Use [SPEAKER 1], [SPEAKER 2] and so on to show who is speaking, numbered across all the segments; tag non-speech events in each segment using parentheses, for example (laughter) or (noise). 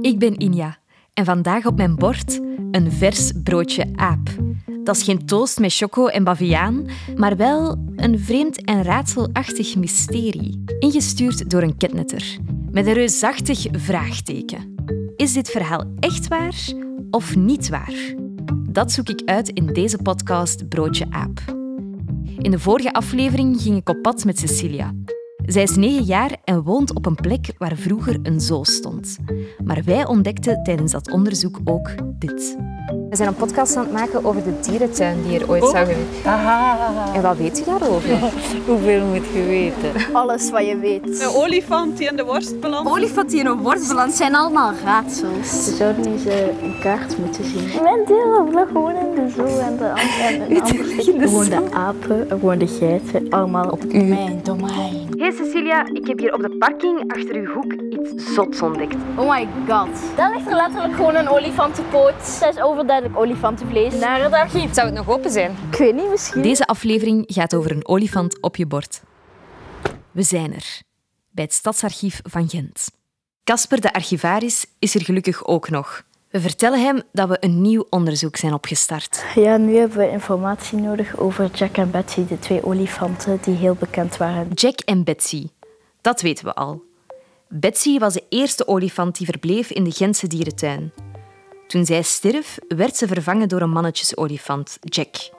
[SPEAKER 1] Ik ben Inja en vandaag op mijn bord een vers broodje aap. Dat is geen toast met choco en baviaan, maar wel een vreemd en raadselachtig mysterie, ingestuurd door een ketnetter, met een reusachtig vraagteken. Is dit verhaal echt waar of niet waar? Dat zoek ik uit in deze podcast Broodje Aap. In de vorige aflevering ging ik op pad met Cecilia. Zij is 9 jaar en woont op een plek waar vroeger een zoo stond. Maar wij ontdekten tijdens dat onderzoek ook dit. We zijn een podcast aan het maken over de dierentuin die er ooit zou zijn. En wat weet u daarover?
[SPEAKER 2] Hoeveel moet je weten?
[SPEAKER 3] Alles wat je weet.
[SPEAKER 4] Een olifant die in de worst belandt.
[SPEAKER 3] Olifant die in een worstbalans zijn allemaal raadsels.
[SPEAKER 2] Ze zouden eens eh, een kaart moeten zien.
[SPEAKER 5] Mijn deel vlog gewoon in de zoo en de en een ander stuk
[SPEAKER 2] Gewoon de apen, gewoon de geiten, allemaal op
[SPEAKER 3] Mijn domein.
[SPEAKER 1] Hey Cecilia, ik heb hier op de parking achter uw hoek iets zots ontdekt.
[SPEAKER 3] Oh my god.
[SPEAKER 5] Daar ligt er letterlijk gewoon een olifantenpoot. Dat is overduidelijk olifantenvlees. Naar het archief.
[SPEAKER 1] Zou het nog open zijn?
[SPEAKER 5] Ik weet niet, misschien.
[SPEAKER 1] Deze aflevering gaat over een olifant op je bord. We zijn er, bij het Stadsarchief van Gent. Casper, de archivaris, is er gelukkig ook nog. We vertellen hem dat we een nieuw onderzoek zijn opgestart.
[SPEAKER 2] Ja, nu hebben we informatie nodig over Jack en Betsy, de twee olifanten die heel bekend waren.
[SPEAKER 1] eh, Jack en Betsy, dat weten we al. Betsy was de eerste olifant die verbleef in de Gentse dierentuin. Toen zij stierf, werd ze vervangen door een mannetjesolifant, Jack.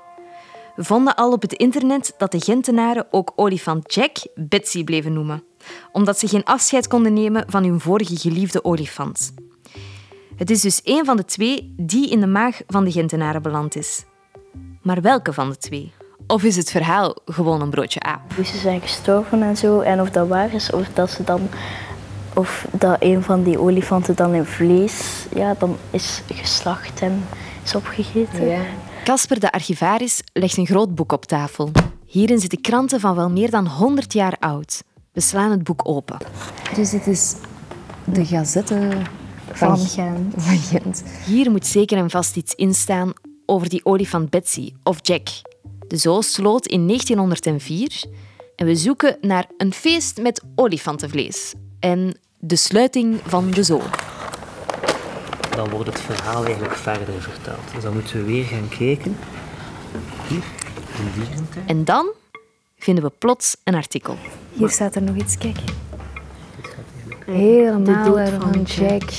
[SPEAKER 1] We vonden al op het internet dat de Gentenaren ook olifant Jack Betsy bleven noemen, omdat ze geen afscheid konden nemen van hun vorige geliefde olifant. Het is dus één van de twee die in de maag van de Gentenaren beland is. Maar welke van de twee? Of is het verhaal gewoon een broodje aap?
[SPEAKER 2] Hoe ze zijn gestorven en zo. En of dat waar is, of dat ze dan. Of dat een van die olifanten dan in vlees ja, dan is geslacht en is opgegeten.
[SPEAKER 1] Casper de archivaris legt een groot boek op tafel. Hierin zitten kranten van wel meer dan 100 jaar oud. We slaan het boek open.
[SPEAKER 6] Dus dit is de gazette van,
[SPEAKER 2] Van Gent.
[SPEAKER 6] van Gent.
[SPEAKER 1] Hier moet zeker en vast iets in staan over die olifant Betsy of Jack. De zoo sloot in 1904 en we zoeken naar een feest met olifantenvlees en de sluiting van de zoo.
[SPEAKER 7] dan wordt het verhaal eigenlijk verder verteld. Dus dan moeten we weer gaan kijken. Hier, in die dierentuin.
[SPEAKER 1] En dan vinden we plots een artikel.
[SPEAKER 6] Hier staat er nog iets, kijk. Helemaal er van Jack.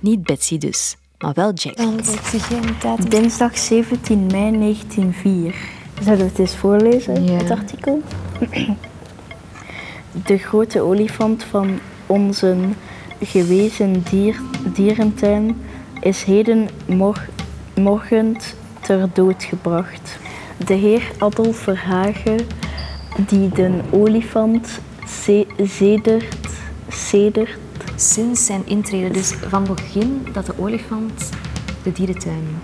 [SPEAKER 1] Niet Betsy dus, maar wel Jack.
[SPEAKER 6] Dan zet ze geen datum.
[SPEAKER 2] Dinsdag 17 mei 1904. Zullen we het eens voorlezen,
[SPEAKER 6] Ja.
[SPEAKER 2] het artikel? De grote olifant van onze gewezen dier, dierentuin is heden mor morgend ter dood gebracht. De heer Adolf Verhagen, die de olifant ze- zedert, zedert
[SPEAKER 1] Sinds zijn intrede, dus van begin dat de olifant de dierentuin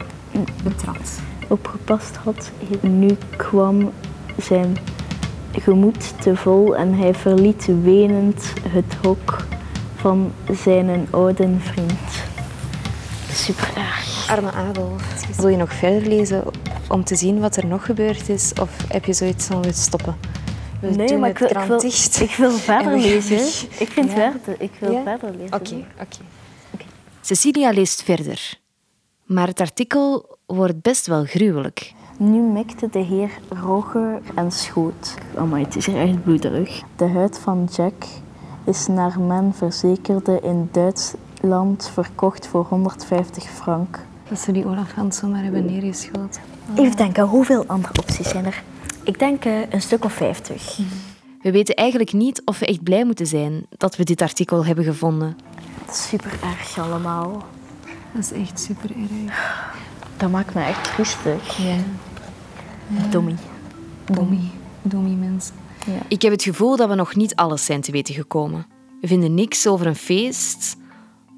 [SPEAKER 1] betrad.
[SPEAKER 2] opgepast had. Nu kwam zijn gemoed te vol en hij verliet wenend het hok van zijn oude vriend. Super erg.
[SPEAKER 6] Arme Adolf. Wil je nog verder lezen om te zien wat er nog gebeurd is? Of heb je zoiets van, we stoppen? We doen het
[SPEAKER 2] ik wil,
[SPEAKER 6] krant
[SPEAKER 2] ik wil,
[SPEAKER 6] dicht.
[SPEAKER 2] ik wil
[SPEAKER 6] En
[SPEAKER 2] verder
[SPEAKER 6] we gaan
[SPEAKER 2] lezen.
[SPEAKER 6] weg.
[SPEAKER 2] Ik vind
[SPEAKER 6] Ja.
[SPEAKER 2] verder, ik wil
[SPEAKER 6] Ja?
[SPEAKER 2] verder lezen.
[SPEAKER 6] Oké, oké.
[SPEAKER 1] Cecilia leest verder. Maar het artikel wordt best wel gruwelijk.
[SPEAKER 2] Nu mikte de heer Roger en schoot. Amai, het is hier echt bloederig. De huid van Jack is naar men verzekerde in Duitsland verkocht voor 150 frank.
[SPEAKER 6] Dat ze die olifant zomaar hebben neergeschoten.
[SPEAKER 2] Even denken, hoeveel andere opties zijn er? Ik denk eh, een stuk of 50.
[SPEAKER 1] We weten eigenlijk niet of we echt blij moeten zijn dat we dit artikel hebben gevonden.
[SPEAKER 2] Dat is super erg allemaal.
[SPEAKER 6] Dat is echt super erg.
[SPEAKER 2] Dat maakt me echt rustig.
[SPEAKER 6] Ja.
[SPEAKER 2] Dommy.
[SPEAKER 6] Dommy. Dommy mens.
[SPEAKER 1] Ik heb het gevoel dat we nog niet alles zijn te weten gekomen. We vinden niks over een feest,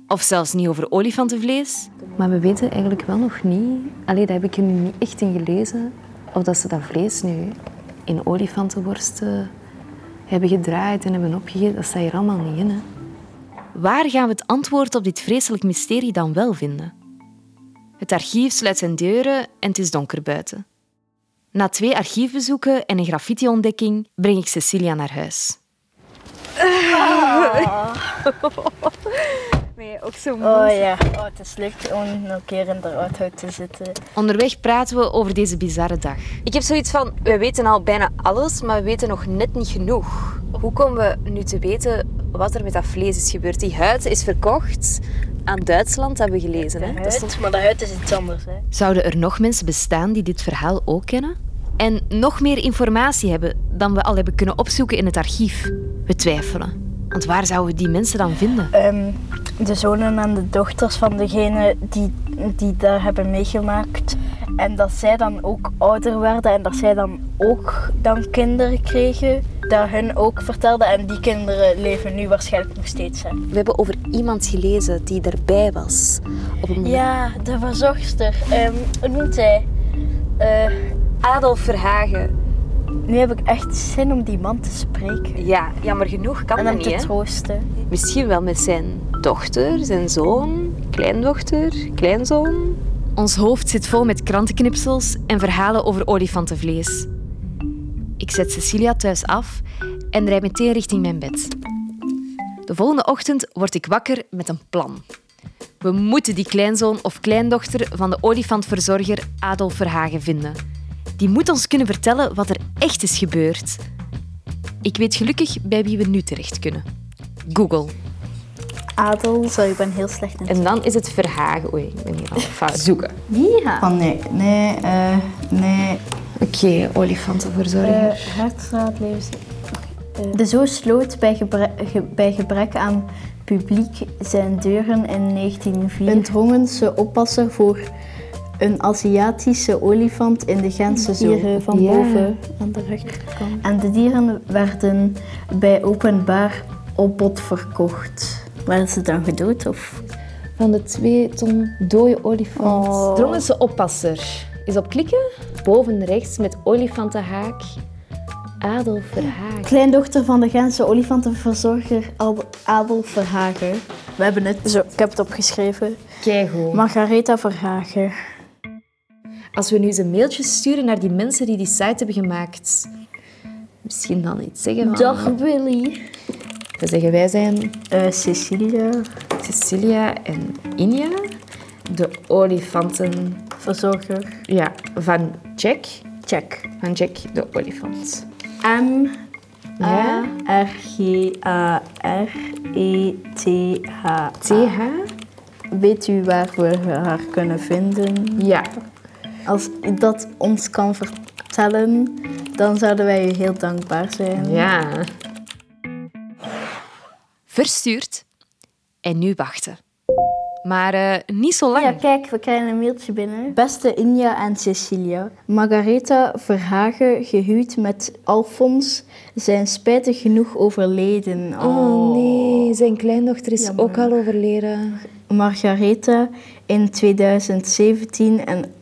[SPEAKER 1] of zelfs niet over olifantenvlees.
[SPEAKER 6] Maar we weten eigenlijk wel nog niet, alleen daar heb ik er nu niet echt in gelezen, of dat ze dat vlees nu in olifantenworsten hebben gedraaid en hebben opgegeten. Dat staat hier allemaal niet in. Hè.
[SPEAKER 1] Waar gaan we het antwoord op dit vreselijk mysterie dan wel vinden? Het archief sluit zijn deuren en het is donker buiten. Na twee archiefbezoeken en een graffiti-ontdekking breng ik Cecilia naar huis.
[SPEAKER 5] nee, ook zo
[SPEAKER 2] Oh ja, oh, het is leuk om een keer in de auto te zitten.
[SPEAKER 1] Onderweg praten we over deze bizarre dag. Ik heb zoiets van, we weten al bijna alles, maar we weten nog net niet genoeg. Hoe komen we nu te weten wat er met dat vlees is gebeurd? Die huid is verkocht aan Duitsland, hebben we gelezen. Hè? Dat stond-
[SPEAKER 2] maar de huid is iets anders. Hè?
[SPEAKER 1] Zouden er nog mensen bestaan die dit verhaal ook kennen? En nog meer informatie hebben dan we al hebben kunnen opzoeken in het archief? We twijfelen. Want waar zouden we die mensen dan vinden?
[SPEAKER 2] Ehm, de zonen en de dochters van degene die, die daar hebben meegemaakt. En dat zij dan ook ouder werden en dat zij dan ook dan kinderen kregen. Dat hun ook vertelden en die kinderen leven nu waarschijnlijk nog steeds. Hè.
[SPEAKER 1] We hebben over iemand gelezen die erbij was. Op een
[SPEAKER 2] Ja, de verzorgster. Ehm, hoe noemt hij? Eh,
[SPEAKER 1] Adolf Verhagen.
[SPEAKER 2] nu heb ik echt zin om die man te spreken.
[SPEAKER 1] Ja, jammer genoeg kan
[SPEAKER 2] En
[SPEAKER 1] dat
[SPEAKER 2] hem
[SPEAKER 1] niet.
[SPEAKER 2] te
[SPEAKER 1] hè?
[SPEAKER 2] troosten.
[SPEAKER 1] Misschien wel met zijn dochter, zijn zoon, kleindochter, kleinzoon. Ons hoofd zit vol met krantenknipsels en verhalen over olifantenvlees. Ik zet Cecilia thuis af en rijd meteen richting mijn bed. De volgende ochtend word ik wakker met een plan. We moeten die kleinzoon of kleindochter van de olifantverzorger Adolf Verhagen vinden. Die moet ons kunnen vertellen wat er echt is gebeurd. Ik weet gelukkig bij wie we nu terecht kunnen. Google.
[SPEAKER 8] Adel.
[SPEAKER 2] Sorry, ik ben heel slecht in
[SPEAKER 1] En dan is het verhagen. Oei, ik ben hier al fout. Zoeken.
[SPEAKER 8] Van nee, nee, eh, nee.
[SPEAKER 6] Oké, olifantenverzorger.
[SPEAKER 8] Eh, hartstraat, levens-
[SPEAKER 2] De zo sloot bij, gebre- ge- bij gebrek aan publiek zijn deuren in 1904.
[SPEAKER 8] Een Hongense oppasser voor
[SPEAKER 2] een Aziatische olifant in de Gentse
[SPEAKER 8] dieren van
[SPEAKER 6] Ja.
[SPEAKER 8] boven aan de rechterkant.
[SPEAKER 2] En de dieren werden bij openbaar opbod verkocht. Werden ze dan gedood of?
[SPEAKER 6] Van de twee ton dode olifant.
[SPEAKER 2] Oh.
[SPEAKER 1] Drongense oppasser. Is op klikken?
[SPEAKER 6] Boven rechts met olifantenhaak. Adolf Verhagen.
[SPEAKER 8] Kleindochter van de Gentse olifantenverzorger Al- Adolf Verhagen.
[SPEAKER 2] We hebben het. Zo, ik heb het opgeschreven.
[SPEAKER 6] Keigoed.
[SPEAKER 2] Margaretha Verhagen.
[SPEAKER 6] Als we nu eens een mailtje sturen naar die mensen die die site hebben gemaakt. Misschien dan iets zeggen van...
[SPEAKER 2] Dag Willy.
[SPEAKER 6] We zeggen wij zijn
[SPEAKER 2] Eh Cecilia.
[SPEAKER 6] Cecilia en Inja. De olifanten...
[SPEAKER 2] Verzorger.
[SPEAKER 6] Ja, van Jack.
[SPEAKER 2] Check.
[SPEAKER 6] Van Jack de olifant.
[SPEAKER 2] M.
[SPEAKER 6] Ja.
[SPEAKER 2] R. G. A. R. E. T. H.
[SPEAKER 6] TH.
[SPEAKER 2] Weet u waar we haar kunnen vinden?
[SPEAKER 6] Ja.
[SPEAKER 2] Als u dat ons kan vertellen, dan zouden wij u heel dankbaar zijn.
[SPEAKER 6] Ja.
[SPEAKER 1] Verstuurd. En nu wachten. Maar eh, niet zo lang.
[SPEAKER 8] Ja, kijk, we krijgen een mailtje binnen.
[SPEAKER 2] Beste Inja en Cecilia, Margaretha Verhagen, gehuwd met Alfons, zijn spijtig genoeg overleden.
[SPEAKER 6] Oh nee, zijn kleindochter is ook al overleden.
[SPEAKER 2] Margaretha in 2017 en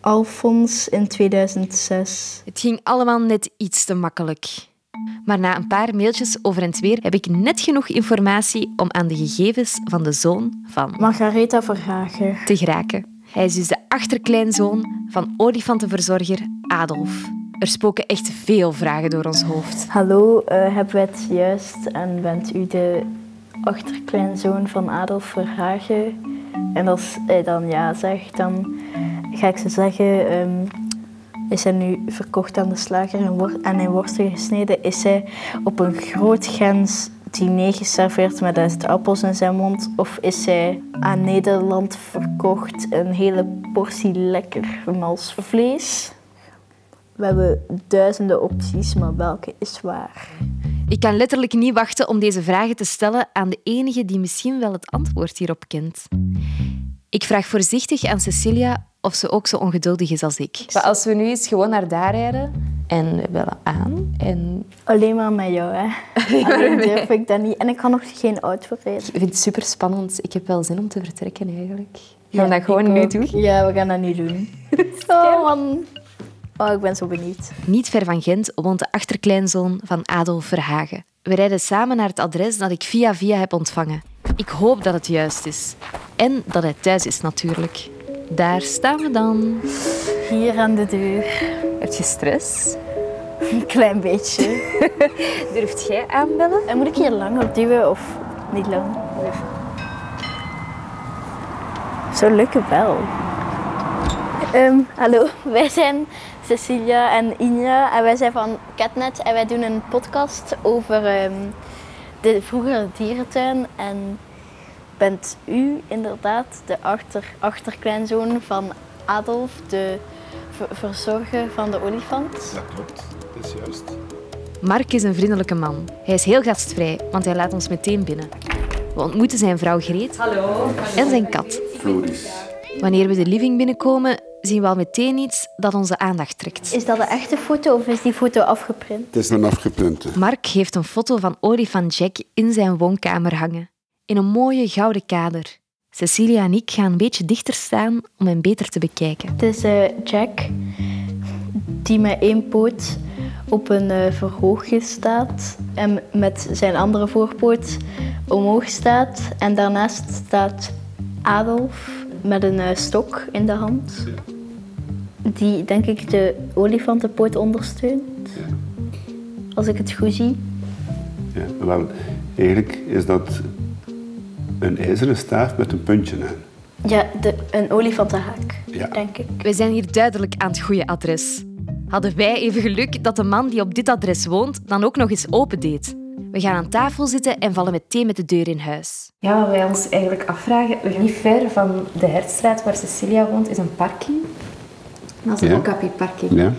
[SPEAKER 2] Alfons in 2006.
[SPEAKER 1] Het ging allemaal net iets te makkelijk. Maar na een paar mailtjes over en weer heb ik net genoeg informatie om aan de gegevens van de zoon van
[SPEAKER 2] Margaretha Verhagen.
[SPEAKER 1] te geraken. Hij is dus de achterkleinzoon van olifantenverzorger Adolf. Er spoken echt veel vragen door ons hoofd.
[SPEAKER 2] Hallo, eh hebben wij het juist en bent u de achterkleinzoon van Adolf Verhagen? En als hij dan ja zegt, dan ga ik ze zeggen, ehm, is hij nu verkocht aan de slager en, wordt en in worsten gesneden? Is hij op een groot Gens diner geserveerd met duizend appels in zijn mond? Of is hij aan Nederland verkocht een hele portie lekker mals vlees? We hebben duizenden opties, maar welke is waar?
[SPEAKER 1] Ik kan letterlijk niet wachten om deze vragen te stellen aan de enige die misschien wel het antwoord hierop kent. Ik vraag voorzichtig aan Cecilia of ze ook zo ongeduldig is als ik.
[SPEAKER 6] Maar als we nu eens gewoon naar daar rijden en we bellen aan en
[SPEAKER 2] Alleen maar met jou,
[SPEAKER 6] (laughs)
[SPEAKER 2] hè? Alleen durf ik dat niet. En ik kan nog geen auto rijden.
[SPEAKER 6] Ik vind het super spannend. Ik heb wel zin om te vertrekken eigenlijk. Gaan we dat gewoon nu doen?
[SPEAKER 2] Ja, we gaan dat nu
[SPEAKER 6] (laughs)
[SPEAKER 2] doen. Oh man. Oh, ik ben zo benieuwd.
[SPEAKER 1] Niet ver van Gent woont de achterkleinzoon van Adolf Verhagen. We rijden samen naar het adres dat ik via via heb ontvangen. Ik hoop dat het juist is. En dat hij thuis is natuurlijk. Daar staan we dan.
[SPEAKER 2] Hier aan de deur.
[SPEAKER 6] Heb je stress?
[SPEAKER 2] (laughs) Een klein
[SPEAKER 5] (laughs)
[SPEAKER 2] beetje.
[SPEAKER 6] Durft jij aanbellen?
[SPEAKER 2] En moet ik hier lang op duwen of niet lang? Zo lukt het wel.
[SPEAKER 5] Ehm, hallo, wij zijn Cecilia en Inja en wij zijn van Catnet en wij doen een podcast over ehm, de vroegere dierentuin. En bent u inderdaad de achter, achterkleinzoon van Adolf, de ver- verzorger van de olifant?
[SPEAKER 9] Dat klopt, dat is juist.
[SPEAKER 1] Mark is een vriendelijke man. Hij is heel gastvrij, want hij laat ons meteen binnen. We ontmoeten zijn vrouw Greet en zijn kat.
[SPEAKER 9] Floris.
[SPEAKER 1] Wanneer we de living binnenkomen, zien we al meteen iets dat onze aandacht trekt.
[SPEAKER 5] Is dat de echte foto of is die foto afgeprint?
[SPEAKER 9] Het is een afgepunte.
[SPEAKER 1] Mark heeft een foto van olifant Jack in zijn woonkamer hangen, in een mooie gouden kader. Cecilia en ik gaan een beetje dichter staan om hem beter te bekijken.
[SPEAKER 5] Het is eh, Jack die met één poot op een eh, verhoogje staat en met zijn andere voorpoot omhoog staat. En daarnaast staat Adolf met een eh, stok in de hand. Die denk ik de olifantenpoot ondersteunt. Als ik het goed zie.
[SPEAKER 9] Ja, wel, eigenlijk is dat een ijzeren staaf met een puntje aan.
[SPEAKER 5] Ja, de, een olifantenhaak,
[SPEAKER 9] Ja.
[SPEAKER 5] denk ik.
[SPEAKER 1] We zijn hier duidelijk aan het goede adres. Hadden wij even geluk dat de man die op dit adres woont dan ook nog eens opendeed. We gaan aan tafel zitten en vallen meteen met de deur in huis.
[SPEAKER 6] Ja, wat wij ons eigenlijk afvragen, we gaan niet ver van de Hertstraat waar Cecilia woont, is een parking. Dat is een
[SPEAKER 9] Ja.
[SPEAKER 6] okapi parking.
[SPEAKER 9] Ja.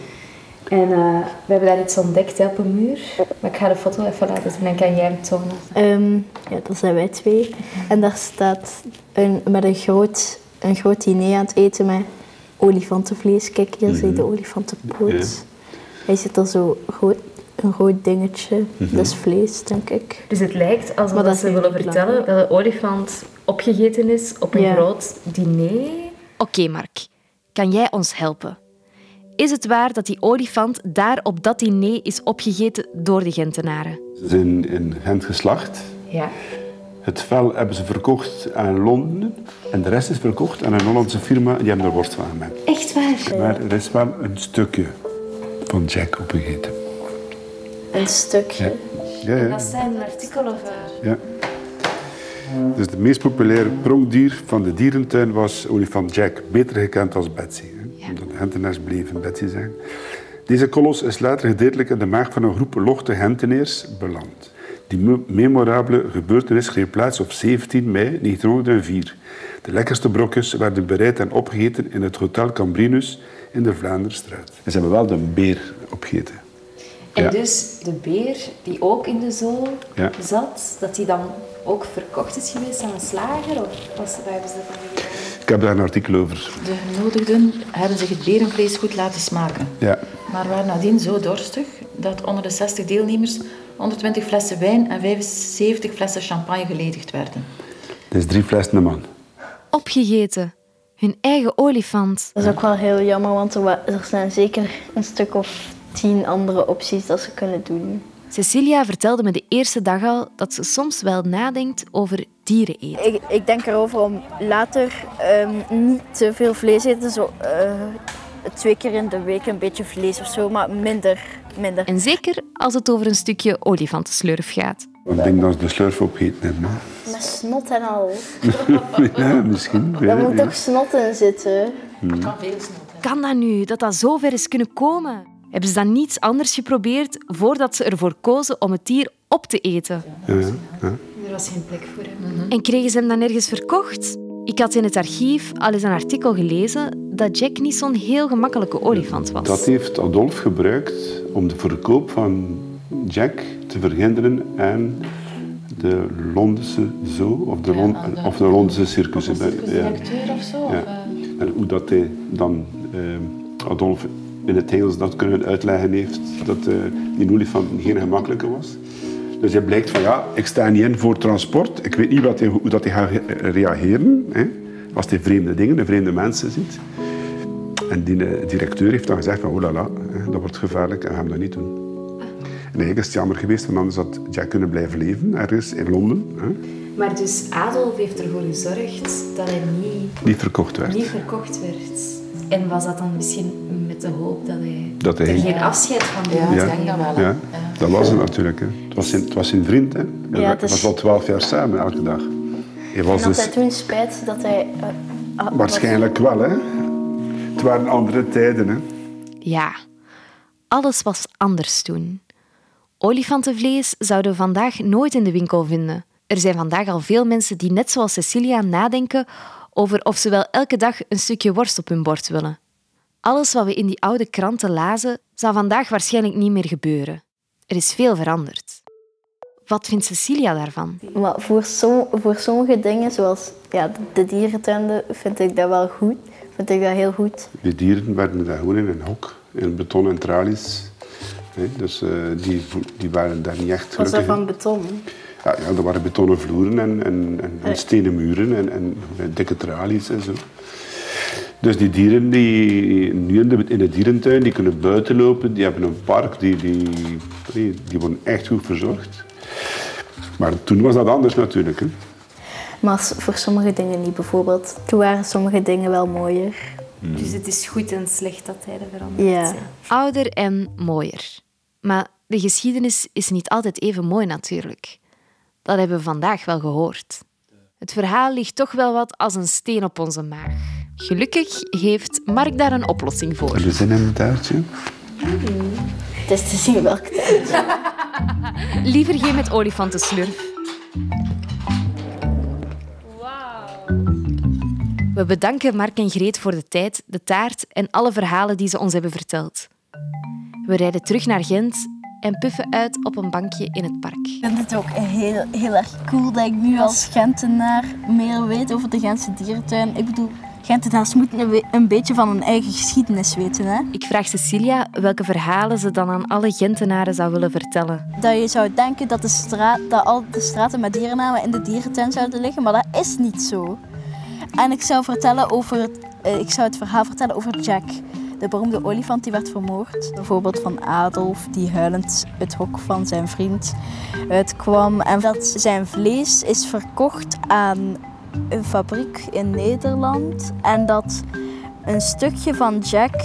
[SPEAKER 6] En eh, we hebben daar iets ontdekt hè, op een muur. Maar ik ga de foto even laten zien en dan kan jij hem tonen.
[SPEAKER 2] Ehm, ja, dat zijn wij twee. En daar staat een, met een groot, een groot diner aan het eten met olifantenvlees. Kijk, hier zie je de olifantenpoot.
[SPEAKER 9] Mhm. Ja.
[SPEAKER 2] Hij zit er zo rood, een rood dingetje.
[SPEAKER 9] Mhm.
[SPEAKER 2] Dat is vlees, denk ik.
[SPEAKER 6] Dus het lijkt alsof
[SPEAKER 2] Maar dat
[SPEAKER 6] dat
[SPEAKER 2] is
[SPEAKER 6] ze willen
[SPEAKER 2] eigenlijk
[SPEAKER 6] vertellen dat de olifant opgegeten is op een
[SPEAKER 2] Ja.
[SPEAKER 6] groot diner.
[SPEAKER 1] Oké, Mark, kan jij ons helpen? Is het waar dat die olifant daar op dat diner is opgegeten door de Gentenaren?
[SPEAKER 9] Ze zijn in Gent geslacht.
[SPEAKER 6] Ja.
[SPEAKER 9] Het vel hebben ze verkocht aan Londen. En de rest is verkocht aan een Hollandse firma. Die hebben er worst van gemaakt.
[SPEAKER 6] Echt waar?
[SPEAKER 9] Maar er is wel een stukje van Jack opgegeten.
[SPEAKER 5] Een stukje.
[SPEAKER 9] Ja. Ja, ja,
[SPEAKER 6] zijn een artikel over.
[SPEAKER 9] ja. Dus het meest populaire pronkdier van de dierentuin was olifant Jack, beter gekend als Betsy. Hè? Omdat de hentenaars bleven Betsy zijn. Deze kolos is later gedeeltelijk in de maag van een groep lochte henteneers beland. Die me- memorabele gebeurtenis greep plaats op 17 mei 1904. De lekkerste brokjes werden bereid en opgegeten in het Hotel Cambrinus in de Vlaanderstraat. En ze hebben wel de beer opgegeten.
[SPEAKER 6] En
[SPEAKER 9] Ja.
[SPEAKER 6] dus de beer die ook in de zool
[SPEAKER 9] Ja.
[SPEAKER 6] zat, dat die dan ook verkocht is geweest aan een slager? Of was, waar hebben ze dat dan gedaan?
[SPEAKER 9] Ik heb daar een artikel over.
[SPEAKER 10] De genodigden hebben zich het berenvlees goed laten smaken.
[SPEAKER 9] Ja.
[SPEAKER 10] Maar waren nadien zo dorstig dat onder de 60 deelnemers 120 flessen wijn en 75 flessen champagne geledigd werden.
[SPEAKER 9] Dus drie flessen een man.
[SPEAKER 1] Opgegeten. Hun eigen olifant.
[SPEAKER 5] Dat is ook wel heel jammer, want er, wa- er zijn zeker een stuk of tien andere opties dat ze kunnen doen.
[SPEAKER 1] Cecilia vertelde me de eerste dag al dat ze soms wel nadenkt over dieren eten.
[SPEAKER 2] Ik, ik denk erover om later ehm, niet te veel vlees eten. Zo, eh, twee keer in de week een beetje vlees of zo, maar minder. minder.
[SPEAKER 1] En zeker als het over een stukje olifantenslurf gaat.
[SPEAKER 9] Ik denk dat ze de slurf opgegeten hebben. hè.
[SPEAKER 5] Met snot en al.
[SPEAKER 9] (laughs) Ja, misschien. ik weet
[SPEAKER 5] Daar
[SPEAKER 9] het
[SPEAKER 5] moet
[SPEAKER 9] niet.
[SPEAKER 5] toch snot in zitten.
[SPEAKER 1] Kan dat nu, dat dat zover is kunnen komen? Hebben ze dan niets anders geprobeerd voordat ze ervoor kozen om het dier op te eten? Mhm.
[SPEAKER 9] Ja, ja.
[SPEAKER 6] Er was geen plek voor hem.
[SPEAKER 1] En kregen ze hem dan ergens verkocht? Ik had in het archief al eens een artikel gelezen dat Jack niet zo'n heel gemakkelijke olifant was.
[SPEAKER 9] Dat heeft Adolf gebruikt om de verkoop van Jack te verhinderen aan de Londense zoo of de, Lon-
[SPEAKER 10] aan de-
[SPEAKER 9] of de Londense circus.
[SPEAKER 10] Of een
[SPEAKER 9] Ja.
[SPEAKER 10] directeur of zo?
[SPEAKER 9] Ja.
[SPEAKER 10] Of, eh,
[SPEAKER 9] En hoe dat hij dan eh, Adolf in het Engels dat kunnen uitleggen heeft, dat eh, die olifant geen gemakkelijke was. Dus hij blijkt van ja, ik sta niet in voor transport. Ik weet niet wat hij, hoe dat hij gaat re- reageren. Hè, als hij vreemde dingen, en vreemde mensen ziet. En die eh, directeur heeft dan gezegd van oh la la, hè, dat wordt gevaarlijk en we gaan dat niet doen. En eigenlijk is het jammer geweest, want anders had Jack kunnen blijven leven ergens in Londen. Hè,
[SPEAKER 6] Maar dus Adolf heeft ervoor gezorgd dat hij niet,
[SPEAKER 9] die verkocht werd.
[SPEAKER 6] niet verkocht werd. En was dat dan misschien met de hoop dat hij
[SPEAKER 9] Dat hij-
[SPEAKER 6] er geen afscheid van
[SPEAKER 10] Ja,
[SPEAKER 6] mocht
[SPEAKER 9] Ja.
[SPEAKER 10] ik denk dat wel. hè.
[SPEAKER 9] Ja, dat was het natuurlijk. Hè. Het, was zijn, het was zijn vriend. Hè. We
[SPEAKER 5] Ja, het is-
[SPEAKER 9] was al twaalf jaar samen, elke dag. Hij was
[SPEAKER 5] En dat hij
[SPEAKER 9] dus...
[SPEAKER 5] toen spijt dat hij eh,
[SPEAKER 9] Waarschijnlijk wel, hè. Het waren andere tijden, hè.
[SPEAKER 1] Ja, alles was anders toen. Olifantenvlees zouden we vandaag nooit in de winkel vinden. Er zijn vandaag al veel mensen die net zoals Cecilia nadenken over of ze wel elke dag een stukje worst op hun bord willen. Alles wat we in die oude kranten lazen, zou vandaag waarschijnlijk niet meer gebeuren. Er is veel veranderd. Wat vindt Cecilia daarvan?
[SPEAKER 5] Maar voor, som, voor sommige dingen, zoals ja, de dierentuinen, vind ik dat wel goed. Vind ik dat heel goed.
[SPEAKER 9] Die dieren werden daar gewoon in een hok, in beton en tralies. Nee, dus uh, die, die waren daar niet echt
[SPEAKER 5] Was dat
[SPEAKER 9] gelukkig in.
[SPEAKER 5] van beton?
[SPEAKER 9] Ja, ja, er waren betonnen vloeren en, en, en, en stenen muren en, en eh, dikke tralies en zo. Dus die dieren die nu in de, in de dierentuin, die kunnen buiten lopen, die hebben een park, die, die, die, die worden echt goed verzorgd. Maar toen was dat anders natuurlijk. Hè.
[SPEAKER 5] Maar s- voor sommige dingen niet, bijvoorbeeld. Toen waren sommige dingen wel mooier.
[SPEAKER 11] Dus het is goed en slecht dat tijden veranderd
[SPEAKER 5] Ja.
[SPEAKER 11] zijn.
[SPEAKER 1] Ouder en mooier. Maar de geschiedenis is niet altijd even mooi natuurlijk. Dat hebben we vandaag wel gehoord. Het verhaal ligt toch wel wat als een steen op onze maag. Gelukkig heeft Mark daar een oplossing voor.
[SPEAKER 9] Hebben we zin in een taartje?
[SPEAKER 5] Het is te zien welke tijd.
[SPEAKER 1] Liever geen met olifantenslurf. We bedanken Mark en Greet voor de tijd, de taart en alle verhalen die ze ons hebben verteld. We rijden terug naar Gent en puffen uit op een bankje in het park.
[SPEAKER 2] Ik vind het ook heel, heel erg cool dat ik nu als Gentenaar meer weet over de Gentse dierentuin. Ik bedoel, Gentenaars moeten een we- een beetje van hun eigen geschiedenis weten. Hè?
[SPEAKER 1] Ik vraag Cecilia welke verhalen ze dan aan alle Gentenaren zou willen vertellen.
[SPEAKER 2] Dat je zou denken dat, de straat, dat al de straten met dierennamen in de dierentuin zouden liggen, maar dat is niet zo. En ik zou, vertellen over, het- eh, ik zou het verhaal vertellen over Jack, de beroemde olifant die werd vermoord. Bijvoorbeeld van Adolf, die huilend het hok van zijn vriend uitkwam. En dat zijn vlees is verkocht aan een fabriek in Nederland. En dat een stukje van Jack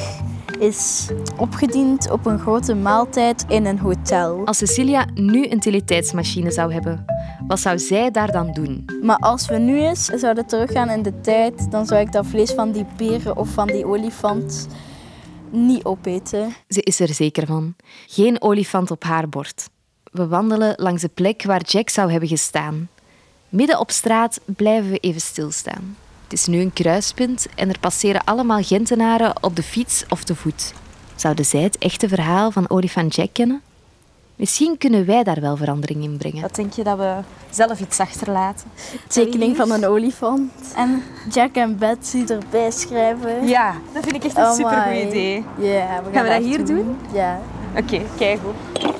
[SPEAKER 2] is opgediend op een grote maaltijd in een hotel.
[SPEAKER 1] Als Cecilia nu een teletijdsmachine zou hebben, wat zou zij daar dan doen?
[SPEAKER 2] Maar als we nu eens zouden teruggaan in de tijd, dan zou ik dat vlees van die beren of van die olifant niet opeten.
[SPEAKER 1] Ze is er zeker van. Geen olifant op haar bord. We wandelen langs de plek waar Jack zou hebben gestaan. Midden op straat blijven we even stilstaan. Het is nu een kruispunt en er passeren allemaal Gentenaren op de fiets of te voet. Zouden zij het echte verhaal van olifant Jack kennen? Misschien kunnen wij daar wel verandering in brengen.
[SPEAKER 11] Wat denk je dat we zelf iets achterlaten?
[SPEAKER 2] Tekening van een olifant. En Jack en Betsy erbij schrijven.
[SPEAKER 11] Ja, dat vind ik echt een
[SPEAKER 2] Oh
[SPEAKER 11] supergoed
[SPEAKER 2] my.
[SPEAKER 11] idee.
[SPEAKER 2] Ja, we gaan,
[SPEAKER 11] Gaan we dat
[SPEAKER 2] echt
[SPEAKER 11] hier doen?
[SPEAKER 2] Ja.
[SPEAKER 11] Oké, kijk goed.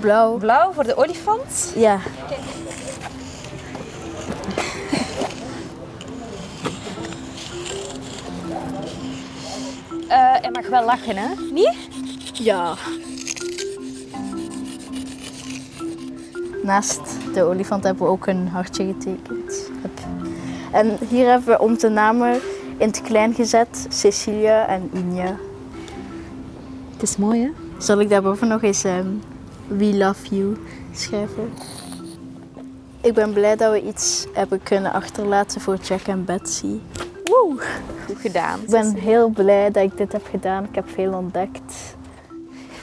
[SPEAKER 2] Blauw.
[SPEAKER 11] Blauw voor de olifant.
[SPEAKER 2] Ja.
[SPEAKER 11] Eh en mag wel lachen, hè? Niet?
[SPEAKER 2] Ja. Naast de olifant hebben we ook een hartje getekend. Hup. En hier hebben we om de namen in het klein gezet Cecilia en Inja.
[SPEAKER 1] Het is mooi, hè?
[SPEAKER 2] Zal ik daarboven nog eens ehm, We Love You schrijven? Ik ben blij dat we iets hebben kunnen achterlaten voor Jack en Betsy.
[SPEAKER 11] Goed gedaan.
[SPEAKER 5] Ik ben heel blij dat ik dit heb gedaan. Ik heb veel ontdekt.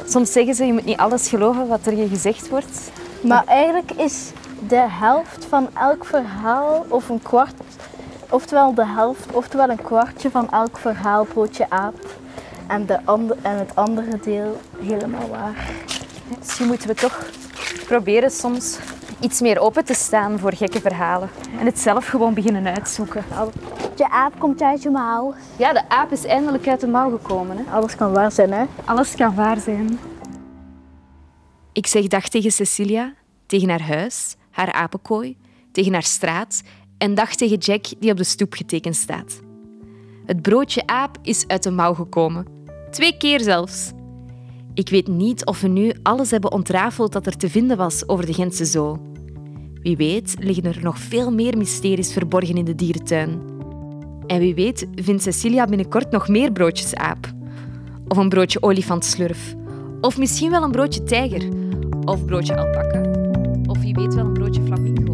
[SPEAKER 11] Soms zeggen ze, je moet niet alles geloven wat er je gezegd wordt.
[SPEAKER 5] Maar eigenlijk is de helft van elk verhaal, of een kwart, oftewel de helft, oftewel een kwartje van elk verhaal broodje aap. En, de ander, en het andere deel helemaal waar.
[SPEAKER 11] Misschien Dus moeten we toch proberen soms iets meer open te staan voor gekke verhalen. En het zelf gewoon beginnen uitzoeken.
[SPEAKER 5] Je aap komt uit je mouw.
[SPEAKER 11] Ja, de aap is eindelijk uit de mouw gekomen. Hè?
[SPEAKER 5] Alles kan waar zijn, hè?
[SPEAKER 11] Alles kan waar zijn.
[SPEAKER 1] Ik zeg dag tegen Cecilia, tegen haar huis, haar apenkooi, tegen haar straat en dag tegen Jack die op de stoep getekend staat. Het broodje aap is uit de mouw gekomen. Twee keer zelfs. Ik weet niet of we nu alles hebben ontrafeld dat er te vinden was over de Gentse Zoo. Wie weet liggen er nog veel meer mysteries verborgen in de dierentuin. En wie weet vindt Cecilia binnenkort nog meer broodjes aap. Of een broodje olifantslurf. Of misschien wel een broodje tijger. Of broodje alpaca. Of wie weet wel een broodje flamingo.